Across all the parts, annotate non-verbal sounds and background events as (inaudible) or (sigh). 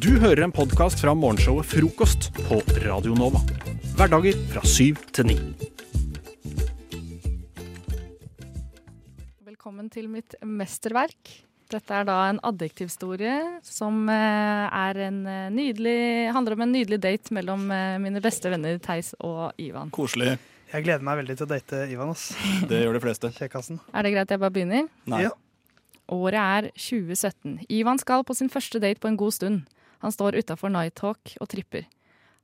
Du hører en podkast fra morgenshowet Frokost på Radio Nova. Hverdager fra syv til ni. Velkommen til mitt mesterverk. Dette er da en adjektivstorie som eh, er en eh, nydelig, handler om en nydelig date mellom eh, mine beste venner Theis og Ivan. Koselig. Jeg gleder meg veldig til å date Ivan. ass. (laughs) Det gjør de fleste. Kjekkasen. Er det greit jeg bare begynner? Nei. Ja. Året er 2017. Ivan skal på sin første date på en god stund. Han står utafor Nighthawk og tripper.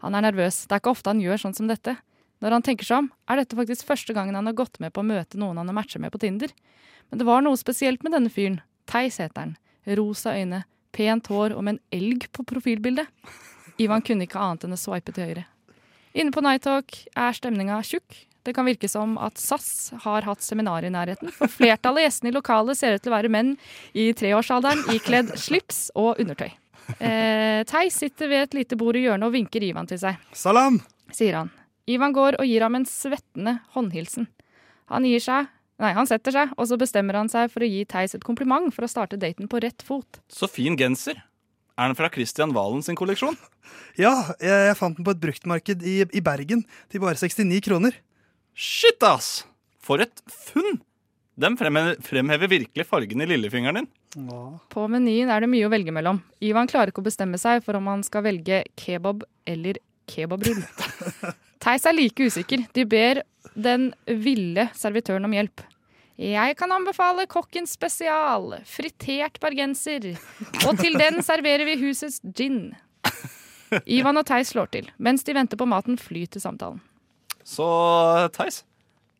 Han er nervøs. Det er ikke ofte han gjør sånn som dette. Når han tenker seg om, er dette faktisk første gangen han har gått med på å møte noen han har matcha med på Tinder. Men det var noe spesielt med denne fyren. Theis heter han. Rosa øyne, pent hår og med en elg på profilbildet. Ivan kunne ikke annet enn å swipe til høyre. Inne på Nighthawk er stemninga tjukk. Det kan virke som at SAS har hatt seminar i nærheten, for flertallet av gjestene i lokalet ser ut til å være menn i treårsalderen ikledd slips og undertøy. Eh, Theis sitter ved et lite bord i hjørnet og vinker Ivan til seg, Salam! sier han. Ivan går og gir ham en svettende håndhilsen. Han gir seg, nei, han setter seg, og så bestemmer han seg for å gi Theis et kompliment for å starte daten på rett fot. Så fin genser. Er den fra Christian Valen sin kolleksjon? Ja, jeg, jeg fant den på et bruktmarked i, i Bergen til bare 69 kroner. Shit, ass! For et funn! Den fremhe- fremhever virkelig fargen i lillefingeren din. På menyen er det mye å velge mellom. Ivan klarer ikke å bestemme seg for om han skal velge kebab eller kebabrull. Theis er like usikker. De ber den ville servitøren om hjelp. Jeg kan anbefale kokkens spesial, fritert bergenser. Og til den serverer vi husets gin. Ivan og Theis slår til. Mens de venter på maten, flyter samtalen. Så Theis,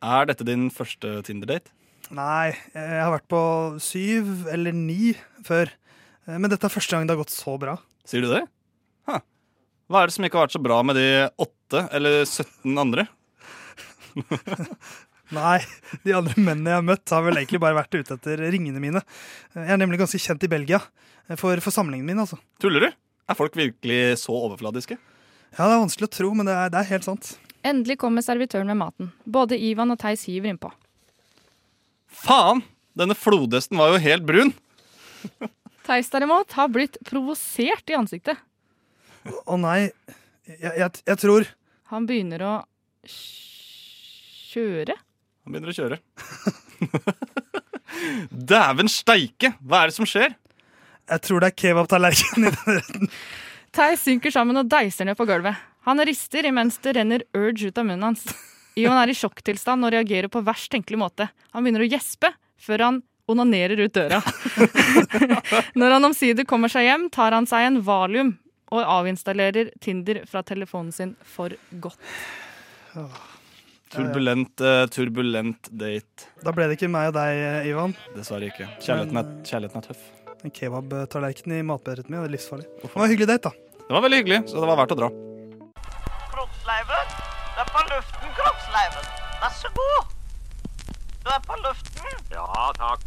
er dette din første Tinder-date? Nei, jeg har vært på syv eller ni før. Eh, Men dette er første gang det har gått så bra. (laughs) Sier du det? Huh. Hva er det som ikke har vært så bra med de åtte eller 17 andre? Nei, de andre mennene jeg har møtt, har vel egentlig bare vært ute etter ringene mine. Eh, Jeg er nemlig ganske kjent i Belgia. eh, For, for samlingen min, altså. Tuller du? Er folk virkelig så overfladiske? Ja, det er vanskelig å tro, men det er, det er helt sant. Endelig kommer servitøren med maten. Både Ivan og Theis hiver innpå. Faen! Denne flodhesten var jo helt brun! Theis derimot har blitt provosert i ansiktet. Å nei, jeg, jeg, jeg tror Han begynner å kj- kjøre. Han begynner å kjøre. (laughs) Dæven steike! Hva er det som skjer? Jeg tror det er kebabtallerkenen i den retten. Theis synker sammen og deiser ned på gulvet. Han rister imens det renner urge ut av munnen hans. Ion er i sjokktilstand og reagerer på verst tenkelig måte. Han begynner å gjespe før han onanerer ut døra. (laughs) Når han omsider kommer seg hjem, tar han seg en valium og avinstallerer Tinder fra telefonen sin for godt. Turbulent, eh, turbulent date. Da ble det ikke meg og deg, eh, Ivan. Dessverre ikke. Kjærligheten er, kjærligheten er tøff. En kebabtallerken i matberetten min. Det er livsfarlig. Det var en hyggelig date, da. Det var veldig hyggelig, så det var verdt å dra. Kroppsleiven. Du er på luften, Kroppsleiven. Vær så god. Du er på luften. Ja, takk.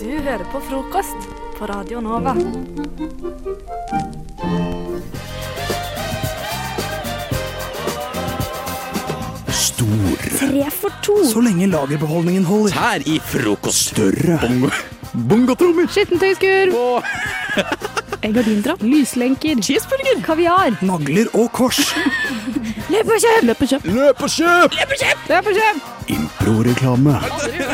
Du hører på frokost på Radio Nova. Stor. Tre for to. Så lenge lagerbeholdningen holder. Her i frokost. Større. Bongo. Bongotrommer. Skittentøyskurv! (laughs) Egg og dindropp. Lyslenker. Cheeseburger. Kaviar. Nagler og kors. (laughs) Løp og kjøp! Løp og kjøp! Løp og kjøp! Løp og kjøp! Improreklame.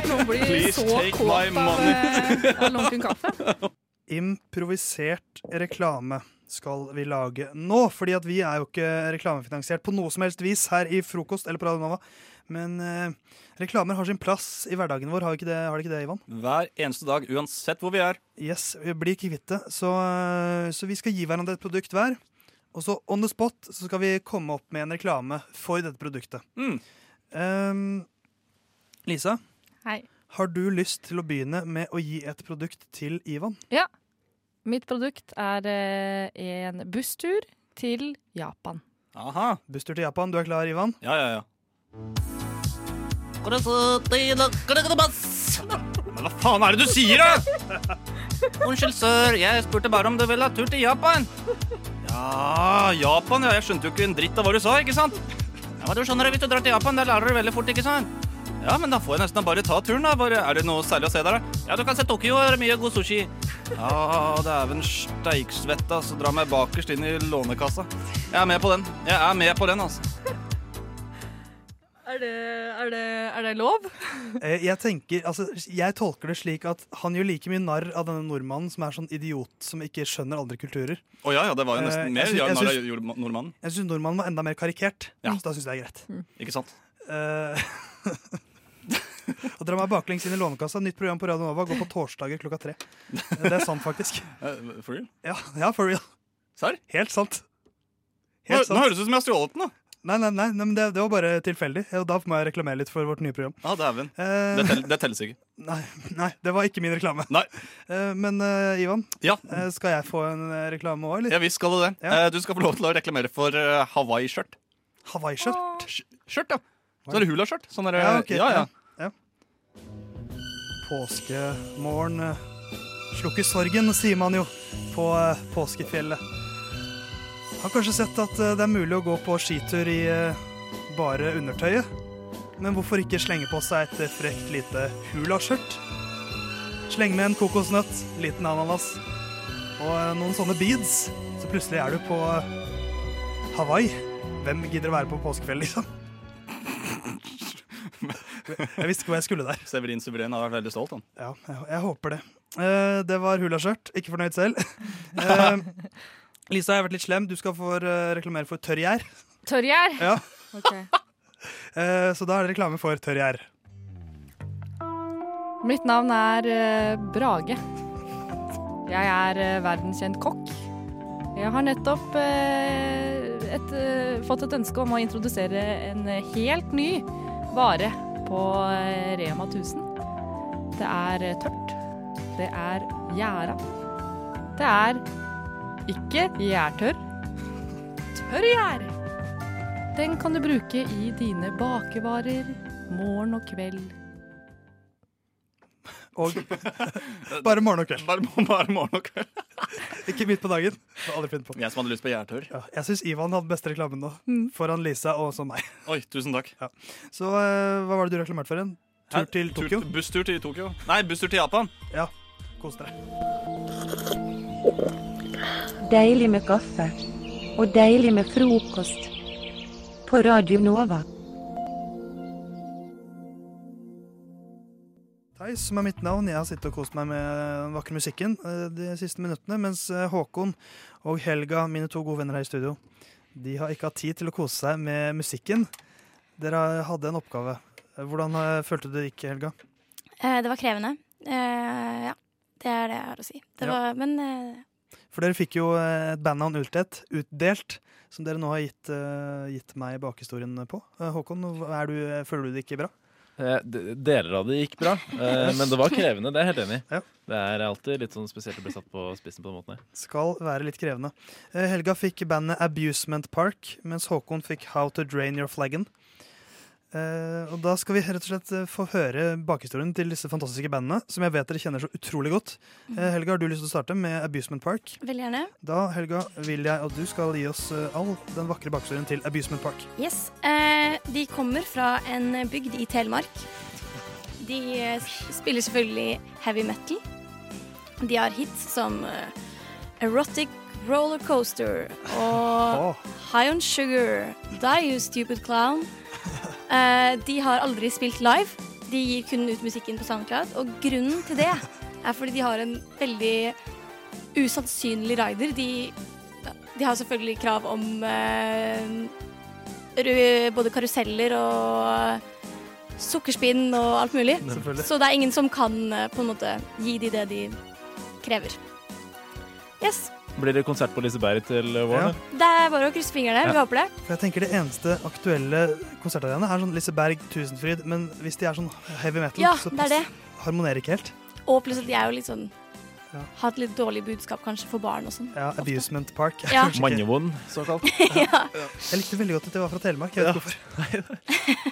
Noen blir Please så take my kåt av, money. eh, av lunken kaffe. (laughs) Improvisert reklame skal vi lage nå. Fordi at vi er jo ikke reklamefinansiert på noe som helst vis her i Frokost eller på Radio Nova. Men eh, reklamer har sin plass i hverdagen vår. Har ikke det, har det, ikke det Ivan? Hver eneste dag, uansett hvor vi er. Yes, vi blir kvitt det. Så, eh, så vi skal gi hverandre et produkt hver. Og så on the spot så skal vi komme opp med en reklame for dette produktet. Mm. Ehm, Lisa, Hei. har du lyst til å begynne med å gi et produkt til Ivan? Mitt produkt er eh, en busstur til Japan. Aha. Busstur til Japan, du er klar, Ivan? Ja, ja, ja. Men hva faen er det du sier, da? Unnskyld, sir. Jeg spurte bare om du ville ha tur til Japan. Ja, Japan, ja. Jeg skjønte jo ikke en dritt av hva du sa, ikke sant? Ja, men du skjønner det, Hvis du drar til Japan, der lærer du veldig fort, ikke sant? Ja, Ja, men da får jeg nesten bare ta turen, da. Bare, er det noe særlig å se der, da? Ja, du kan se Tokyo. Det er mye god sushi. Ja, dæven steiksvett, altså. Dra meg bakerst inn i lånekassa. Jeg er med på den. Jeg er med på den, altså. Er det, er det, er det lov? Eh, Jeg tenker, altså, jeg tolker det slik at han gjør like mye narr av denne nordmannen som er sånn idiot som ikke skjønner andre kulturer. Å ja, ja, det var jo Eh, nesten jeg mer. syns- Ja, jeg når syns- jeg gjorde nordmannen. Jeg syns nordmannen var enda mer karikert, Ja. så da syns jeg det er greit. Ikke sant? Eh, (laughs) Å dra meg baklengs inn i Lånekassa, nytt program på Radio Nova, går på torsdager klokka tre. Eh, Det er sant, faktisk. Eh, For real? Ja, ja for real. Serr? Helt sant. Nå, Helt nå sant. høres det ut som jeg har stjålet den, da. Nei, nei, nei, nei men det, det var bare tilfeldig. Og da må jeg reklamere litt for vårt nye program. Ja, dæven. Eh, Det, tel, det telles ikke. nei, nei, det var ikke min reklame. Nei. Eh, men eh, Ivan, Ja, eh, skal jeg få en eh, reklame òg, eller? ja visst skal du det. Ja. Eh, Du skal få lov til å reklamere for eh, Hawaii-skjørt. Hawaiiskjørt? Sk- Skjørt, ja. Så er det hulaskjørt. Sånn er det. Ja, ok. ja, ja. ja. Påskemorgen eh, slukker sorgen, sier man jo på eh, påskefjellet. Har kanskje sett at eh, det er mulig å gå på skitur i eh, bare undertøyet? Men hvorfor ikke slenge på seg et eh, frekt lite hulaskjørt? Sleng med en kokosnøtt, liten ananas og eh, noen sånne beads, så plutselig er du på eh, Hawaii. Hvem gidder å være på påskefjellet, liksom? Jeg visste ikke hvor jeg skulle der. Severin Suveren har vært veldig stolt. han. Ja, jeg, jeg håper det. Eh, det var hulaskjørt. Ikke fornøyd selv. (laughs) Eh, Lisa, jeg har vært litt slem. Du skal få eh, reklamere for tørrgjær. Tørrgjær! Ja. Ok. Eh, så da er det reklame for tørrgjær. Mitt navn er eh, Brage. Jeg er eh, verdenskjent kokk. Jeg har nettopp eh, et, eh, fått et ønske om å introdusere en eh, helt ny vare på eh, Rema 1000. Det er eh, tørt. Det er gjæra. Det er ikke gjærtørr. Tørrgjær! Den kan du bruke i dine bakevarer morgen og kveld. (laughs) Og bare morgen og kveld. Bare, bare morgen og kveld. (laughs) Ikke midt på dagen. Det var Aldri funnet på. Jeg som hadde lyst på gjærtørr. Ja, jeg syns Ivan hadde beste reklamen nå. Foran Lisa og også meg. Oi, tusen takk. Så eh, hva var det du reklamerte for? En tur til Tokyo? Tur, busstur til Tokyo. Nei, busstur til Japan. Ja. Kos dere. Deilig med kaffe. Og deilig med frokost. På Radio Nova. Theis, som er mitt navn, jeg har sittet og kost meg med den vakre musikken eh, de siste minuttene, mens eh, Håkon og Helga, mine to gode venner her i studio, de har ikke hatt tid til å kose seg med musikken. Dere har- hadde en oppgave. Eh, Hvordan eh, følte du det gikk, Helga? Eh, det var krevende. Eh, ja, det er det jeg har å si. Det Ja. var, men eh, For dere fikk jo eh, et bandnavn utdelt, utdelt, som dere nå har gitt, eh, gitt meg bakhistorien på. Eh, Håkon, er du, føler du det ikke bra? Eh, d- Deler av det gikk bra, eh, men det var krevende. Det er jeg helt enig i. Ja. Det er alltid litt sånn spesielt å bli satt på spissen på den måten. her. Skal være litt krevende. Eh, Helga fikk bandet Abusement Park, mens Håkon fikk How to Drain Your Flaggen. Eh, og Da skal vi rett og slett eh, få høre bakhistorien til disse fantastiske bandene, som jeg vet dere kjenner så utrolig godt. Mhm. Eh, Helga, har du lyst til å starte med Abusement Park? veldig gjerne. Da Helga, vil jeg at du skal gi oss eh, all den vakre bakhistorien til Abusement Park. Yes. Eh, de kommer fra en bygd i Telemark. De eh, s- spiller selvfølgelig heavy metal. De har hits som eh, Erotic Rollercoaster og Åh, High on Sugar, Die You Stupid Clown. Eh, de har aldri spilt live. De gir kun ut musikken på SoundCloud. Og grunnen til det er fordi de har en veldig usannsynlig rider. De, de har selvfølgelig krav om eh, ru- både karuseller og sukkerspinn og alt mulig. selvfølgelig. Så det er ingen som kan eh, på en måte gi de det de krever. Yes. Blir det konsert på Liseberg til eh, Ja. våren? Det er bare å krysse fingrene. Vi Ja. håper det. For jeg tenker Det eneste aktuelle konsertarenaet er sånn Liseberg, Tusenfryd. Men hvis de er sånn heavy metal, Ja, så det er det. pass- harmonerer ikke helt. Og pluss at de er jo litt sånn Ja. Har et litt dårlig budskap kanskje for barn og sånn. Ja, Ofte. Abusement Park. er (laughs) Ja. kanskje ikke- Mannevond, (laughs) såkalt. (laughs) Jeg likte veldig godt at det var fra Telemark. Jeg vet ikke hvorfor.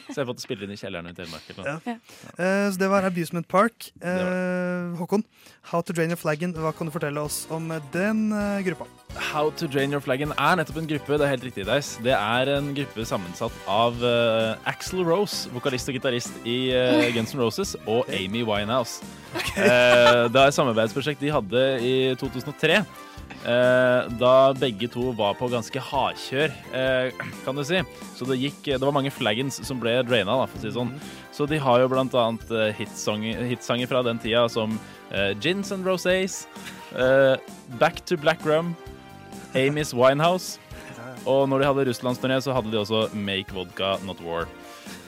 Så jeg har fått spille inn i kjelleren i Telemark. eller noe. Ja. Eh, så det var Abusement Park. Eh, Det Håkon, How to Drain Your Flaggen, hva kan du fortelle oss om den eh, gruppa? How to Drain Your Flaggen er nettopp en gruppe. Det er helt riktig, Deis. Det er en gruppe sammensatt av uh, Axel Rose, vokalist og gitarist i eh, Guns N' Roses, og Amy Winehouse. Eh, det er et samarbeidsprosjekt de hadde i 2003. eh, da begge to var på ganske hardkjør, eh, kan du si. Så det gikk Det var mange flaggins som ble draina, da, for å si det sånn. Så de har jo blant annet eh, hitsanger hitsanger fra den tida som eh, Gins and Rosés, eh, Back to Black Rum, Amy's Winehouse. Og når de hadde russlandsturné, så hadde de også Make Vodka Not War.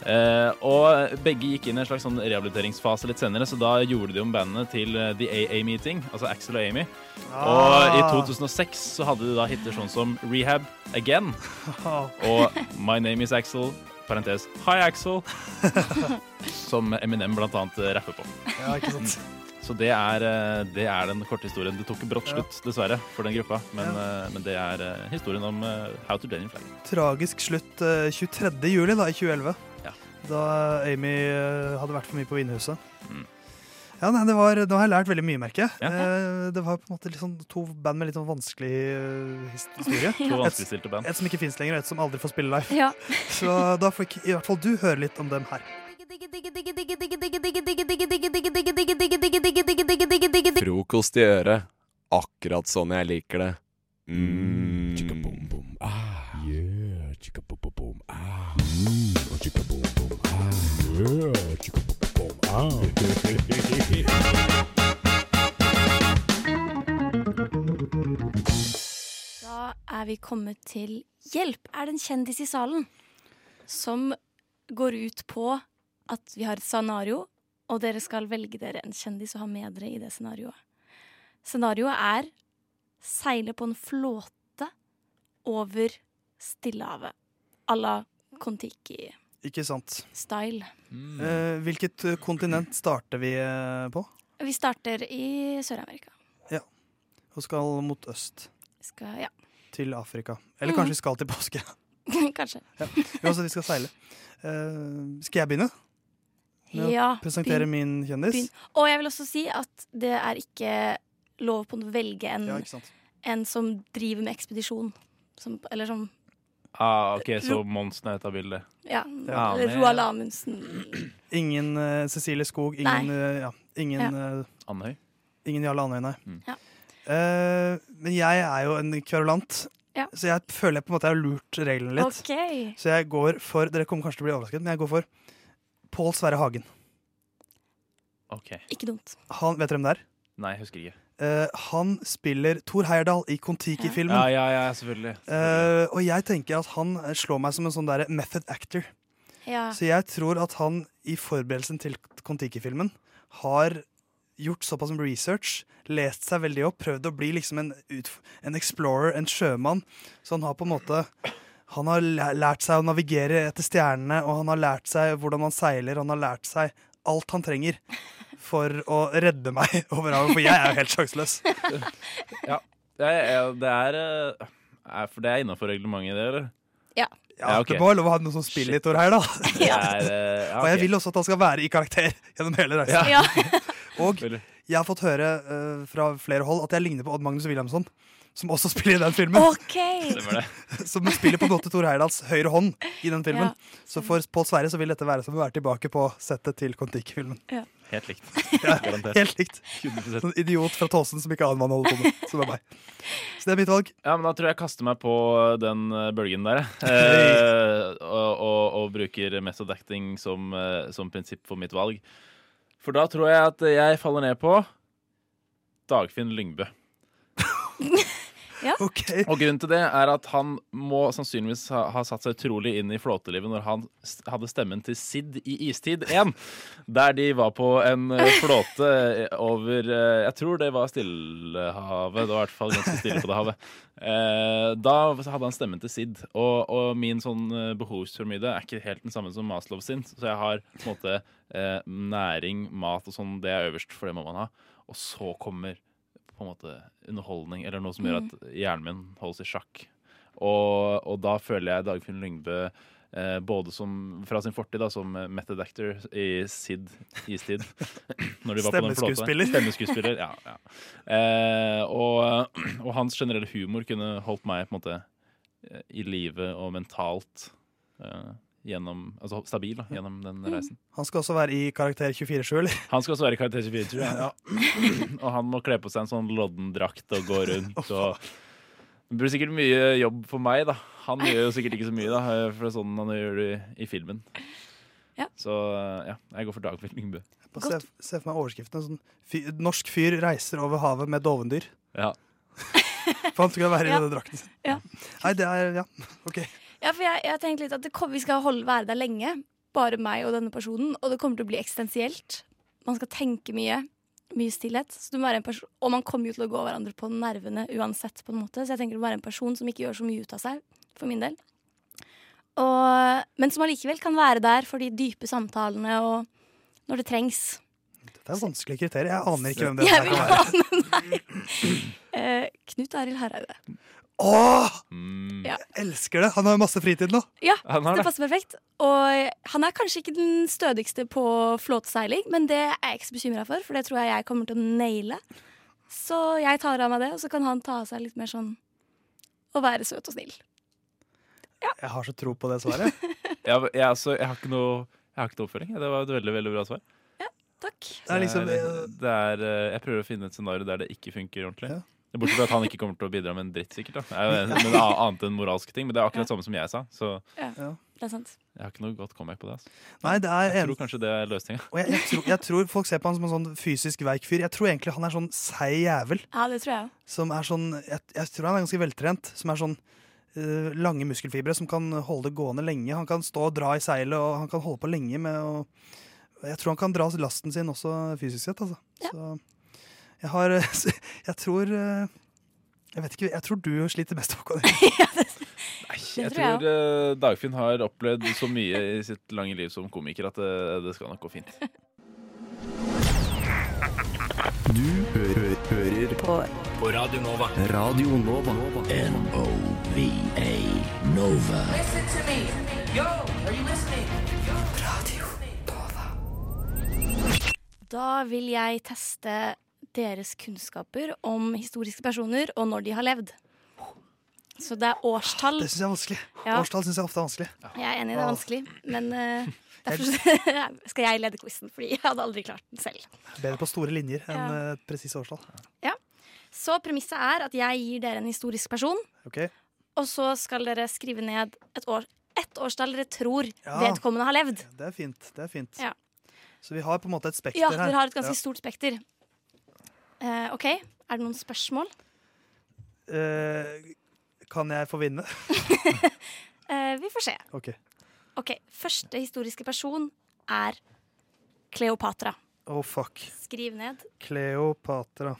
Eh, og begge gikk inn i en slags sånn rehabiliteringsfase litt senere, så da gjorde de om bandene til eh, The AA Meeting, altså Axel og Amy. Og i Ah. 2006 så hadde de da hiter sånn som Rehab Again og My Name Is Axel, parentes Hi Axel, som Eminem blant annet rapper på. Ja, ikke sant. Så det er, eh, det er den korte historien. Det tok brått slutt, dessverre, for den gruppa. Men, eh, men det er eh, historien om eh, How to Blend in Flag. (laughs) Tragisk slutt eh, 23. juli da, i 2011. Ja. Da Amy eh, hadde vært for mye på Vinhuset. Ja, nei, det var, Nå har jeg lært veldig mye, merker jeg. Eh, Det var på en måte litt sånn to band med litt sånn vanskelig eh, his- historie. (laughs) To vanskeligstilte band. Et, et som ikke fins lenger, og et som aldri får spille live. Ja. (laughs) Så da fikk i hvert fall du høre litt om dem her. Frokost i øret. Akkurat sånn jeg liker det. Mm. Ah. Da er vi kommet til Hjelp er det en kjendis i salen. Som går ut på at vi har et scenario, og dere skal velge dere en kjendis å ha med dere i det scenarioet. Scenarioet er seile på en flåte over Stillehavet. À la Kon-Tiki-style. Ikke sant. Eh, hvilket eh, kontinent starter vi eh, på? Vi starter i Sør-Amerika. Ja. Og skal mot øst. Skal, ja, (laughs) Til Afrika. Eller Mhm. kanskje vi skal til påske. (laughs) kanskje. Jo, altså, vi skal seile. Eh, skal jeg begynne? Med Ja, å presentere begynn. min kjendis? Begynn. Og jeg vil også si at det er ikke lov på å velge en, Ja, ikke sant. en som driver med ekspedisjon. Som, eller som Ah, OK, så Monsen er ute av bildet. ja, Ja, eller men- Roald Amundsen. Ingen eh, Cecilie Skog, ingen, eh, ja, ingen eh, Andøy? Ingen Jarle Andøy, nei. Ja. Eh, men jeg er jo en kverulant, Ja. så jeg føler jeg på en måte har lurt reglene litt. Ok. Så jeg går for Dere kommer kanskje til å bli overrasket, men jeg går for Pål Sverre Hagen. OK. Ikke dumt. Han, vet dere hvem det er? Nei, jeg husker ikke. Eh, han spiller Thor Heyerdahl i Kon-Tiki-filmen. Ja, ja, ja, selvfølgelig. Eh, og jeg tenker at han slår meg som en sånn der method actor. Ja. Så jeg tror at han i forberedelsen til Kon-Tiki-filmen har gjort såpass med research, lest seg veldig opp, prøvd å bli liksom en, utf- en explorer, en sjømann. Så han har på en måte Han har læ- lært seg å navigere etter stjernene, og han har lært seg hvordan han seiler, og han har lært seg alt han trenger for å redde meg (laughs) over havet, for jeg er jo helt sjanseløs. Ja. Det er, det er, eh, er For det er innafor reglementet, det, eller? Ja. Ja, ok. Det må være lov å ha noen som spiller litt over her, da. Det er, eh, ja, (laughs) Og jeg ok. vil også at han skal være i karakter (laughs) gjennom hele reisen. Ja. (laughs) og jeg har fått høre eh, fra flere hold at jeg ligner på Odd Magnus Wilhelmsson, som også (laughs) spiller i den filmen. Ok. Stemmer (laughs) som spiller på en måte Thor Heyerdahls høyre hånd i den filmen. Ja. Så for Pål Sverre så vil dette være som å være tilbake på settet til Kon-Tiki-filmen. Ja. Helt likt. (laughs) Ja, Garantert. helt likt. 100%. Sånn idiot fra Tåsen som ikke aner hva han holder på med. Som er meg. Så det er mitt valg. Ja, men Da tror jeg jeg kaster meg på den eh, bølgen der. jeg. Eh, og, og, og bruker method acting som, eh, som prinsipp for mitt valg. For da tror jeg at jeg faller ned på Dagfinn Lyngbø. ja. Og grunnen til det er at han må sannsynligvis ha, ha satt seg utrolig inn i flåtelivet når han s- hadde stemmen til Sid i Istid 1, der de var på en eh, flåte over eh, Jeg tror det var Stillehavet. Det var i hvert fall ganske stille på det havet. Eh, Da hadde han stemmen til Sid. Og, og min sånn eh, behovspyramide er ikke helt den samme som Maslow sin, så jeg har på en måte eh, næring, mat og sånn, det er øverst, for det må man ha. Og så kommer på en måte underholdning, eller noe som gjør at hjernen min holdes i sjakk. Og, og da føler jeg Dagfinn Lyngbø eh, både som, fra sin fortid da, som eh, method actor i Sid Istid. Når de var på den flåta. Stemmeskuespiller. Stemmeskuespiller, ja, ja. Eh, og, og hans generelle humor kunne holdt meg på en måte eh, i live og mentalt eh, gjennom, altså stabil da, gjennom den Mm. reisen. Han skal også være i karakter 24-7, eller? Han skal også være i karakter 24, tror jeg. Ja. (clears throat) Og han må kle på seg en sånn loddendrakt og gå rundt og Det blir sikkert mye jobb for meg, da. Han gjør jo sikkert ikke så mye, da, for det er sånn han gjør det i- i filmen. Ja. Så eh, ja, jeg går for Dagfjell Lyngbø. (laughs) Bare Se, se for meg overskriftene. Sånn, fyr, norsk fyr reiser over havet med dovendyr. Ja. For han skulle være i Ja. denne drakten. sin. Ja. Nei, det er Ja, OK. Ja, for jeg, jeg tenkte litt at det kom, vi skal holde, være der lenge, bare meg og denne personen, og det kommer til å bli eksistensielt. Man skal tenke mye, mye stillhet, så du må være en person, og man kommer jo til å gå hverandre på nervene uansett, på en måte, så jeg tenker du må være en person som ikke gjør så mye ut av seg, for min del. Og, men som allikevel kan være der for de dype samtalene og når det trengs. (laughs) Det er vanskelige kriterier. Jeg aner ikke hvem det Jeg er. vil ane deg. Eh, Knut Arild Hareide. Åh! Ja. Elsker det! Han har jo masse fritid nå. Ja, Han har det det. passer perfekt. Og han er kanskje ikke den stødigste på flåteseiling, men det er jeg ikke så bekymra for, for det tror jeg jeg kommer til å naile. Så jeg tar av meg det, og så kan han ta av seg litt mer sånn å være søt og snill. Jeg har så tro på det svaret. Jeg, jeg, altså, jeg, har ikke noe, jeg har ikke noe oppfølging. Det var et veldig veldig bra svar. Takk. Det er, det er, eh, jeg prøver å finne et scenario der det ikke funker ordentlig. Bortsett fra at han ikke kommer til å bidra med en dritt, sikkert. da Eh, Men det er Annet enn moralske ting. Men det er akkurat samme som jeg sa. Så Ja, det er sant. jeg har ikke noe godt comeback på det. Altså. Nei, det er Jeg tror kanskje det er (laughs) løsninga. Og jeg, jeg, tror, jeg tror folk ser på han som en sånn fysisk veik fyr. Jeg tror egentlig han er sånn seig jævel. Ja, det tror jeg òg. Som er sånn, jeg, jeg tror han er ganske veltrent. Som er sånn eh, lange muskelfibre som kan holde det gående lenge. Han kan stå og dra i seilet, og han kan holde på lenge med å Jeg tror han kan dra lasten sin også fysisk sett, altså. Så jeg har (laughs) eh, s- Jeg tror eh, Jeg vet ikke, jeg tror du sliter mest, (laughs) Håkon. Jeg tror jeg tror eh, Dagfinn har opplevd så mye i sitt lange liv som komiker at det, det skal nok gå fint. Du hører, hører på På Radio Nova. Radio Nova. N-O-V-A Nova. Listen to me. Yo, are you listening? Radio. Da vil jeg teste deres kunnskaper om historiske personer og når de har levd. Så det er årstall. Det syns jeg er vanskelig. Ja. Årstall syns jeg ofte er vanskelig. Jeg er enig, det er Åh. vanskelig, men (laughs) eh, (laughs) derfor skal jeg lede quizen, fordi jeg hadde aldri klart den selv. Bedre på store linjer enn Ja. eh, presise årstall. Ja. Så premisset er at jeg gir dere en historisk person, Ok? og så skal dere skrive ned et, år, et årstall dere tror Ja. vedkommende har levd. Det er fint. det er fint Ja. Så vi har på en måte et spekter ja, her. dere har et ganske Ja. stort spekter. Eh, OK, er det noen spørsmål? Eh, Kan jeg få vinne? (laughs) Eh, vi får se. OK. OK, første historiske person er Kleopatra. Oh, fuck. Skriv ned. Kleopatra.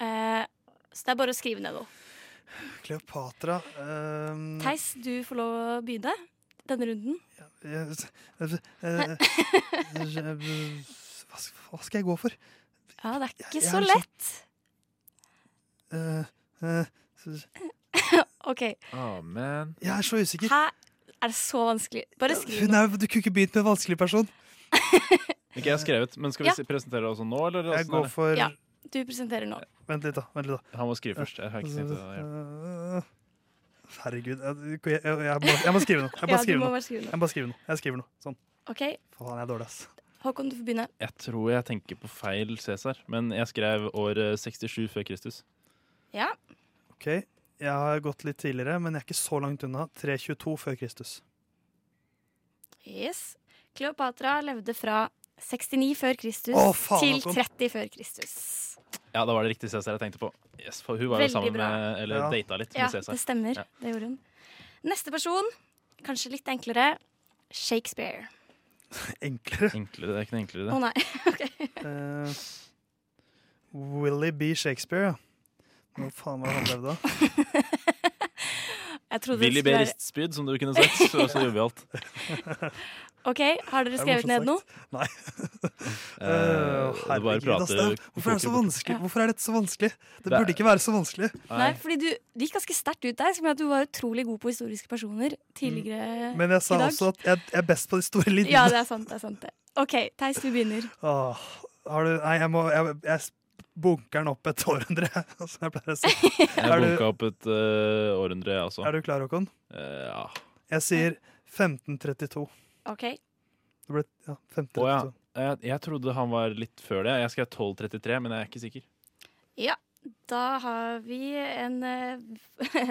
Eh, så det er bare å skrive ned noe. Kleopatra ehm, Theis, du får lov å begynne denne runden. eh, eh, eh, Hva sk- hva skal jeg gå for? Ja, det er ikke Jeg- jeg så er liksom sånn- lett. Eh, eh, s- (laughs) OK. Amen. Jeg er så usikker. Hæ? Er det så vanskelig? Bare skriv Hun noe. er, du kunne ikke begynt med en vanskelig person. (laughs) Ikke jeg har skrevet, men skal vi Ja. si- presentere det også nå, eller? Jeg hvordan går er det? for Ja, du presenterer nå. Vent litt, da. Vent litt da Han må skrive først. Jeg har ikke tid til det. Eh, Herregud. Jeg, jeg, jeg, må, jeg må skrive noe. Jeg Ja, bare du skriver må noe. bare skrive noe. Jeg bare skriver noe. Jeg skriver noe. Sånn. OK, Faen, jeg er dårlig, ass. Håkon, du får begynne. Jeg tror jeg tenker på feil Cæsar, men jeg skrev år eh, 67 før Kristus. Ja. Ok, Jeg har gått litt tidligere, men jeg er ikke så langt unna. 322 før Kristus. Yes. Kleopatra levde fra 69 før Kristus Å, faen, til Håkon. 30 før Kristus. Ja, da var det riktig Cæsar jeg tenkte på. Yes, for hun var jo Veldig sammen bra. med, eller Ja. data litt Ja, med Cæsar. det stemmer. Ja. Det gjorde hun. Neste person, kanskje litt enklere, Shakespeare. (laughs) Enklere. Enklere, Det er ikke noe enklere, Å det. (laughs) nei. (laughs) OK. Eh, (laughs) Willy B. Shakespeare, ja. Hva faen var det han levde av? Jeg trodde det Willy B. skulle være- Ristspyd, som du kunne sagt. Så, så gjorde vi alt. OK, har dere Det er skrevet ned noe? morsomt Nei. Eh, Eh, du bare herregud, prater ass, det er- Hvorfor er det fort så i vanskelig? Hvorfor er dette så vanskelig? Det Det er- burde ikke være så vanskelig. Nei, fordi du det gikk ganske sterkt ut der, som at du var utrolig god på historiske personer tidligere Mm. Men jeg sa i dag. også at jeg, jeg er best på de store linjene. Ja, det er sant, det er sant det. OK, Theis, du begynner. (laughs) Åh, har du Nei, jeg må Jeg, jeg bunker den opp et århundre, (laughs) som jeg (laughs) pleier å si. Jeg Er bunka du, opp et eh, århundre, jeg også. er du klar, Håkon? Eh, ja. Jeg sier 1532. OK. Det ble ja, 1532. Å ja. Eh, Jeg, jeg trodde han var litt før det. Jeg skrev 1233, men jeg er ikke sikker. Ja, da har vi en eh,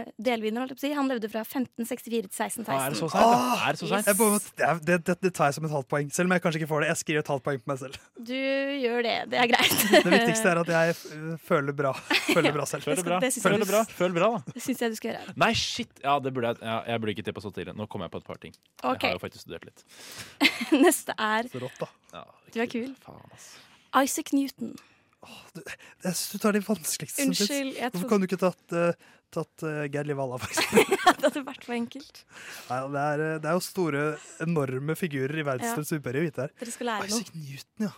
(laughs) delvinner, holdt jeg på å si. Han levde fra 1564 til 1616. Ah, Yes. jeg bare må- det, er- det, det, det tar jeg som et halvt poeng, selv om jeg kanskje ikke får det. Jeg skriver et halvt poeng på meg (laughs) selv. Du gjør det. Det er greit. (laughs) Det viktigste er at jeg øh, føler bra. (laughs) Føler bra selv. Føler bra. Føler bra. Føler bra, da. (laughs) Det syns jeg du skal gjøre. Nei, shit! Ja, det burde jeg, ja, jeg burde ikke tippa så tidlig. Nå kom jeg på et par ting. Ok. Jeg har jo faktisk studert litt. Neste er Så rått, da. Ja, Du er kul. faen, ass. Isaac Newton. Jeg synes du tar de vanskeligste som Unnskyld, finnes. jeg trodde- Hvorfor kan du ikke tatt, eh, tatt eh, Geir Liv (laughs) Halla, faktisk? det hadde vært for enkelt. Nei, det, er, eh, det er jo store, enorme figurer i verdenshistorien som vi bør jo vite her. Dere skal lære noe. Isaac Newton, ja.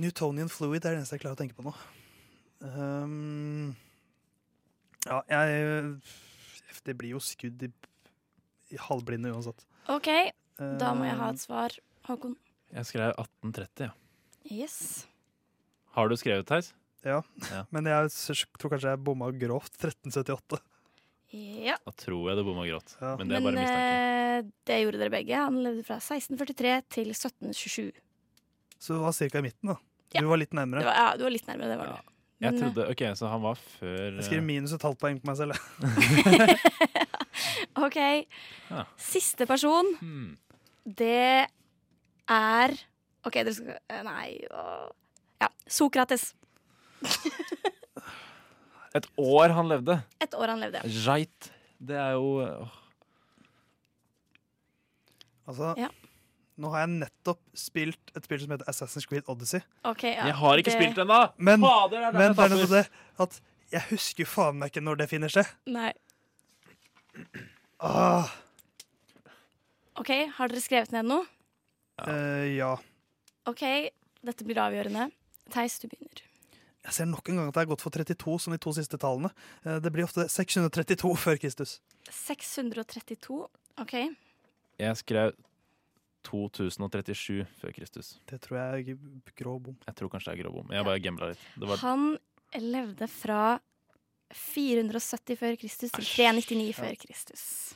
Newtonian fluid er det eneste jeg klarer å tenke på nå. Ehm, ja, jeg Det blir jo skudd i, i halvblinde uansett. OK, da må Eh. jeg ha et svar, Håkon. Jeg skrev 1830, ja. Yes. Har du skrevet, Theis? Ja, Ja. men jeg s- tror kanskje jeg bomma grovt. 1378. Ja. Da tror jeg det bomma grått. Men det er Men bare mistanke. eh, det gjorde dere begge. Han levde fra 1643 til 1727. Så du var ca. i midten, da. Du var litt nærmere. Det var, ja, du var litt nærmere, det var du. Jeg Men, eh, trodde, ok, Så han var før Jeg eh, skriver minus et halvt poeng på meg selv. jeg. eh, OK. Ja. Siste person, Hmm. det er OK, dere skal eh, Nei åh. Ja. Sokrates. (laughs) (laughs) Et år han levde! Et år han levde. Right. Det er jo åh. Altså, Ja. Nå har jeg nettopp spilt et spill som heter Assassin's Creed Odyssey. Ok, ja, det- Men, Fader, det er der men jeg det er tapper. nettopp det at jeg husker faen meg ikke når det finner seg. Nei. Ah, OK, har dere skrevet ned noe? eh, ja. OK, dette blir avgjørende. Theis, du begynner. Jeg ser nok en gang at jeg har gått for 32 som de to siste tallene. Eh, Det blir ofte 632 før Kristus. 632. OK. Jeg skrev 2037 før Kristus. Det tror jeg er grå bom. Jeg tror kanskje det er grå bom. Jeg bare gambla litt. Det var, Han levde fra 470 før Kristus til 399 før Kristus.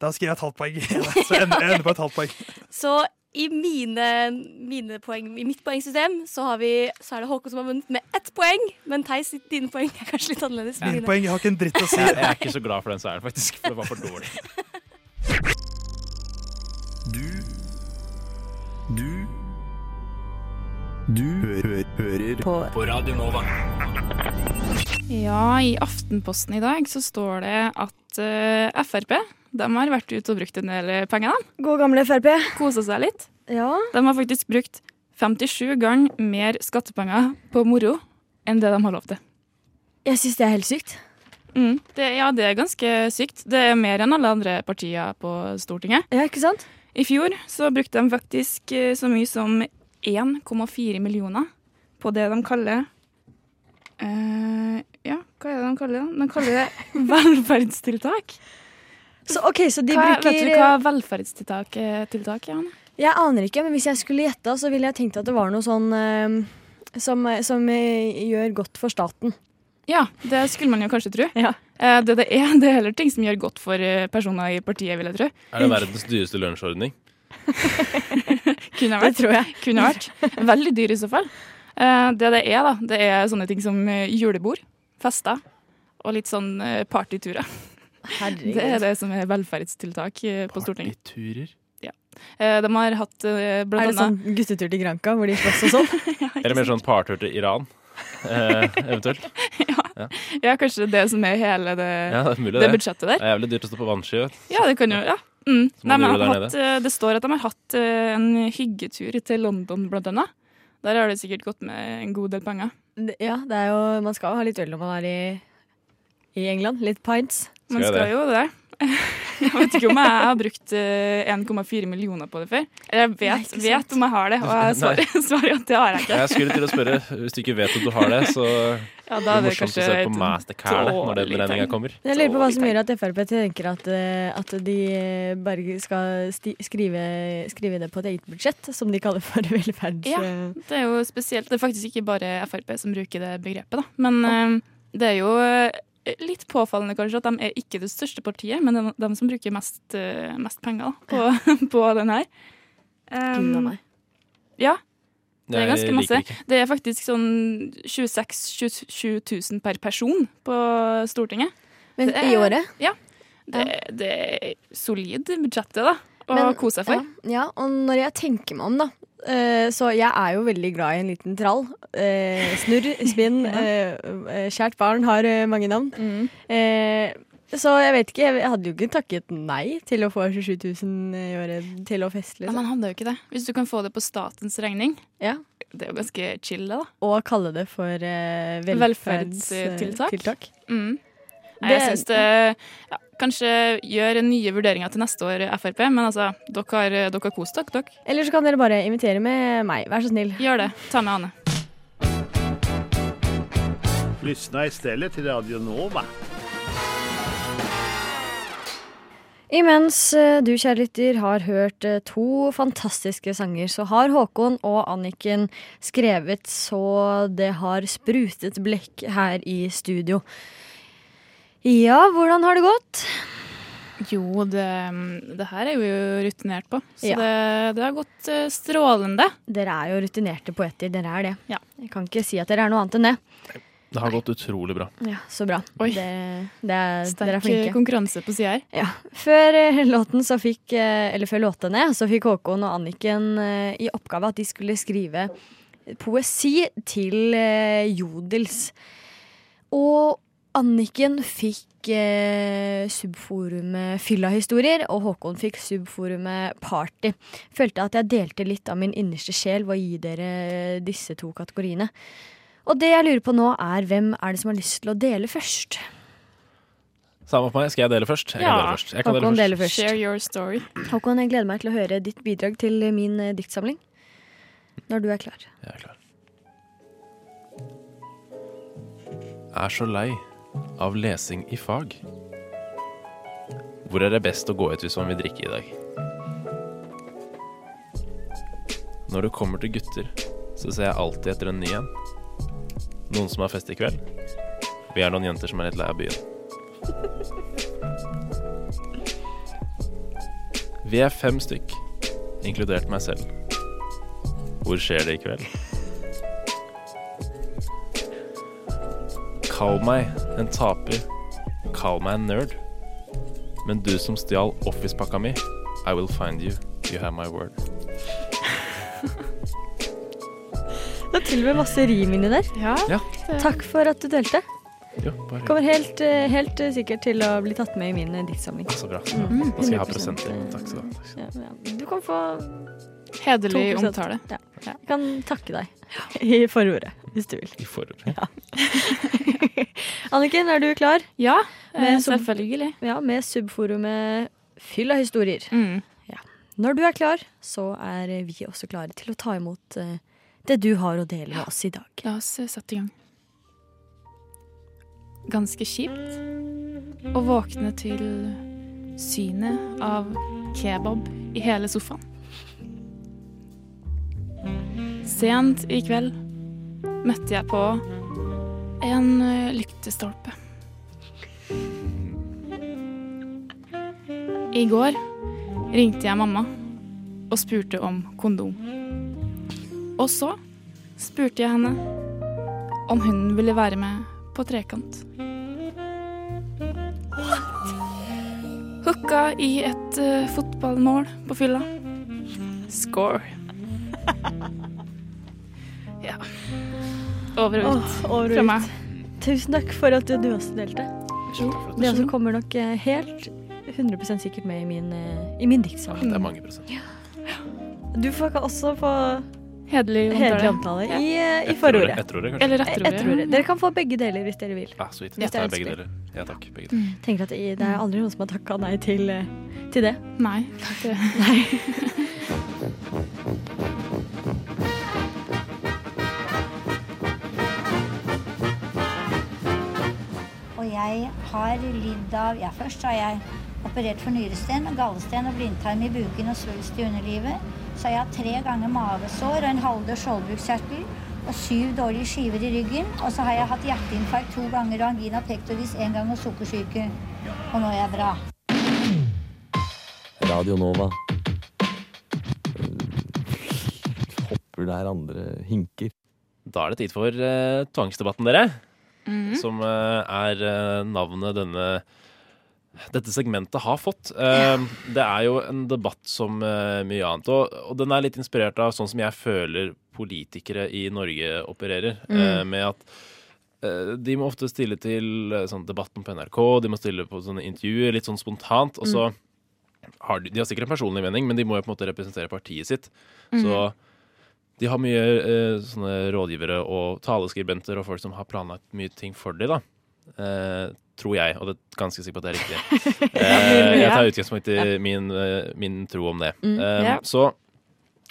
Da skriver jeg et halvt poeng. (laughs) Så jeg ender jeg ender på et halvt poeng. Så i, mine, mine poeng, i mitt poengsystem så, har vi, så er det Håkon som har vunnet med ett poeng, men Theis, dine poeng er kanskje litt annerledes. Mine poeng, jeg har ikke en dritt å (laughs) si. jeg, jeg er ikke så glad for den seieren, faktisk. For det var for dårlig. Du Du Du hø hø hører på. Radio Nova. Ja, i Aftenposten i dag så står det at eh, Frp de har vært ute og brukt en del eh, penger. God gamle Frp. Kosa seg litt. Ja. De har faktisk brukt 57 ganger mer skattepenger på moro enn det de har lov til. Jeg syns det er helt sykt. Mm, det, ja, det er ganske sykt. Det er mer enn alle andre partier på Stortinget. Ja, ikke sant? I fjor så brukte de faktisk eh, så mye som 1,4 millioner på det de kaller eh, Ja, hva er det de kaller det? De kaller (laughs) det velferdstiltak. Så, ok, så de hva, bruker Vet du hva velferdstiltak eh, tiltak er? Anne? Jeg aner ikke, men hvis jeg skulle gjette, så ville jeg tenkt at det var noe sånn eh, som, som eh, gjør godt for staten. Ja, det skulle man jo kanskje tro. Eh, det det er, (laughs) det er heller ting som gjør godt for eh, personer i partiet, vil jeg tro. Er det verdens dyreste lunsjordning? Kunne vært. Det tror jeg. Kunne (laughs) vært. Veldig dyr i så fall. Eh, Det det er, da, det er sånne ting som eh, julebord, fester og litt sånn eh, partyturer. Herregud. Det er det som er velferdstiltak eh, på Stortinget. Partyturer? Ja. Eh, De har hatt eh, blant er det sånn annet guttetur til Granca hvor de slåss og sånn? Eller mer sånn partur til Iran, (laughs) eh, eventuelt. Ja. (laughs) Ja, kanskje det som er hele det, Ja, det er mulig, det budsjettet der. Det er jævlig dyrt å stå på vannski. vet du. Ja, det kan jo ja. Mm. Så Nei, må du men gjøre har der hatt, eh, det står at de har hatt eh, en hyggetur til London, blant annet. Der har det sikkert gått med en god del penger. Ja, det er jo, man skal jo ha litt øl når man er i, i England. Litt pints. Man Skal jeg skal det? jo det. (laughs) Jeg vet ikke om jeg har brukt eh, 1,4 millioner på det før. Eller jeg Nei, vet, ikke sant. vet om jeg har det, og jeg (laughs) Nei. svarer, svarer at det har jeg ikke. Jeg skulle til å spørre, hvis du ikke vet at du har det, så Ja, da er blir det det morsomt å kanskje se på et Mastercard når den dårlig beregninga tegn. kommer. Jeg lurer på hva som gjør at Frp tenker at, eh, at de eh, bare skal sti skrive, skrive det på et eget budsjett, som de kaller for (laughs) velferds... Ja, det er jo spesielt. Det er faktisk ikke bare Frp som bruker det begrepet, da. Men eh, det er jo eh, litt påfallende kanskje at de er ikke det største partiet, men de, de som bruker mest, eh, mest penger da, på, (laughs) på den her. Gud a meg. Ja. Det Nei, er ganske jeg liker masse. det ikke. Det er faktisk sånn 26 27 000 per person på Stortinget. Men Det er- i året? Ja. Det, det er solid budsjettet, da. Å Men- kose seg for. Ja, liksom. ja, og når jeg tenker meg om, da. eh, Så jeg er jo veldig glad i en liten trall. Eh, (laughs) Snurr, spinn, eh, eh, kjært barn har eh, mange navn. Mm. Eh, Så jeg vet ikke, jeg hadde jo ikke takket nei til å få 27 000 i året til å feste. Ja, liksom. man hadde jo ikke det. Hvis du kan få det på statens regning, Ja. det er jo ganske chill, det, da. Og kalle det for eh, velferds, eh, Velferdstiltak. tiltak. Mm. Nei, Det- jeg syns det ja, Kanskje gjør nye vurderinger til neste år, Frp, men altså, dere har, dere har kost dere, dere. Eller så kan dere bare invitere med meg, vær så snill. Gjør det. Ta med Anne. Lyssna istället till Radio Nova. Imens eh, du, kjære lytter, har hørt eh, to fantastiske sanger, så har Håkon og Anniken skrevet så det har sprutet blekk her i studio. Ja, hvordan har det gått? Jo, det, det her er vi jo rutinert på, så Ja. det, det har gått eh, strålende. Dere er jo rutinerte poeter, dere er det. Ja. Jeg kan ikke si at dere er noe annet enn det. Det har gått utrolig bra. Ja, Så bra. Dere, det er, Sterk eh, dere er flinke. konkurranse på sida her. Ja. Før eh, låten så fikk eh, Eller før låtene så fikk Håkon og Anniken eh, i oppgave at de skulle skrive poesi til eh, jodels. Og Anniken fikk eh, subforumet Fylla-historier, og Håkon fikk subforumet Party. Følte at jeg delte litt av min innerste sjel ved å gi dere disse to kategoriene. Og det jeg lurer på nå, er hvem er det som har lyst til å dele først? Samme for meg. Skal jeg dele først? Jeg kan dele først. Jeg kan Håkon dele deler først. først. Share your story. Håkon, jeg gleder meg til å høre ditt bidrag til min eh, diktsamling. Når du er klar. er så lei av lesing i fag. Hvor er det best å gå ut hvis man vil drikke i dag? Når det kommer til gutter, så ser jeg alltid etter en ny en. Noen som har fest i kveld. Vi er noen jenter som er litt lei av byen. Vi er fem stykk, inkludert meg selv. Hvor skjer det i kveld? Kall meg en taper. Kall meg en nerd. Men du som stjal Office-pakka mi, I will find you. You have my word. Det er til og med masse rim inni der. Ja. Takk for at du delte. Jo, bare Kommer helt, eh, helt eh, sikkert til å bli tatt med i min eh, diktsamling. Ah, Så bra. Mm, Da skal jeg ha 100%. presenter. Takk skal du ha. Ja, ja. Du kan få Hederlig 2%. omtale. Ja. Jeg kan takke deg i forordet, hvis du vil. I forordet. Anniken, er du klar? Ja, Med eh, sub- selvfølgelig. Ja, med subforumet Fyll av historier. Mm. Ja. Når du er klar, så er eh, vi også klare til å ta imot eh, det du har å dele med oss i dag. La oss eh, sette i gang. Ganske kjipt å våkne til synet av kebab i hele sofaen. Sent i kveld møtte jeg på en eh, lyktestolpe. I går ringte jeg mamma og spurte om kondom. Og så spurte jeg henne om hun ville være med på trekant. Hooka i et eh, fotballmål på fylla. Score. ja. Over og ut. Åh, over og fra ut. meg. Tusen takk for at du også delte. Tusen takk for at du Det også delte. kommer nok eh, helt 100 sikkert med i min, eh, i min diktsamling. Det er mange prosent. Du får ka- også få hederlig omtale. omtale i, eh, i Etterordet, forordet. etterordet, kanskje. Eller Eller etterordet, etterordet. ja. Dere kan få begge deler hvis dere vil. Ah, sweet. Hvis Jeg dere tar begge ønsker. deler. Ja takk, Mm. begge Mm. to. Tenker at i- Det er aldri noen som har takka nei til, eh, til det. Nei. Og jeg har lidd av Ja, først har jeg operert for nyresten, gallesten og blindtarm i buken og svulst i underlivet. Så har jeg hatt tre ganger mavesår og en halvdød skjoldbruskkjertel og syv dårlige skiver i ryggen. Og så har jeg hatt hjerteinfarkt to ganger og angina pectoris én gang og sukkersyke. Og nå er jeg bra. Radio Nova. Eh, Hopper der andre hinker. Da er det tid for eh, tvangsdebatten, dere. Mhm. Som eh, er eh, navnet denne dette segmentet har fått. Eh, Det er jo en debatt som eh, mye annet. Og, og den er litt inspirert av sånn som jeg føler politikere i Norge opererer. eh, Mm. Med at eh, de må ofte stille til eh, sånn debatten på NRK, de må stille på sånne intervjuer litt sånn spontant. Og så Mm. har de, de har sikkert en personlig mening, men de må jo på en måte representere partiet sitt. Mhm. Så de har mye eh, sånne rådgivere og taleskribenter og folk som har planlagt mye ting for dem, da. Eh, tror jeg, og det er ganske sikkert på at det er (laughs) riktig. Eh, jeg tar utgangspunkt i min, eh, min tro om det. Mm, Eh, ja. Så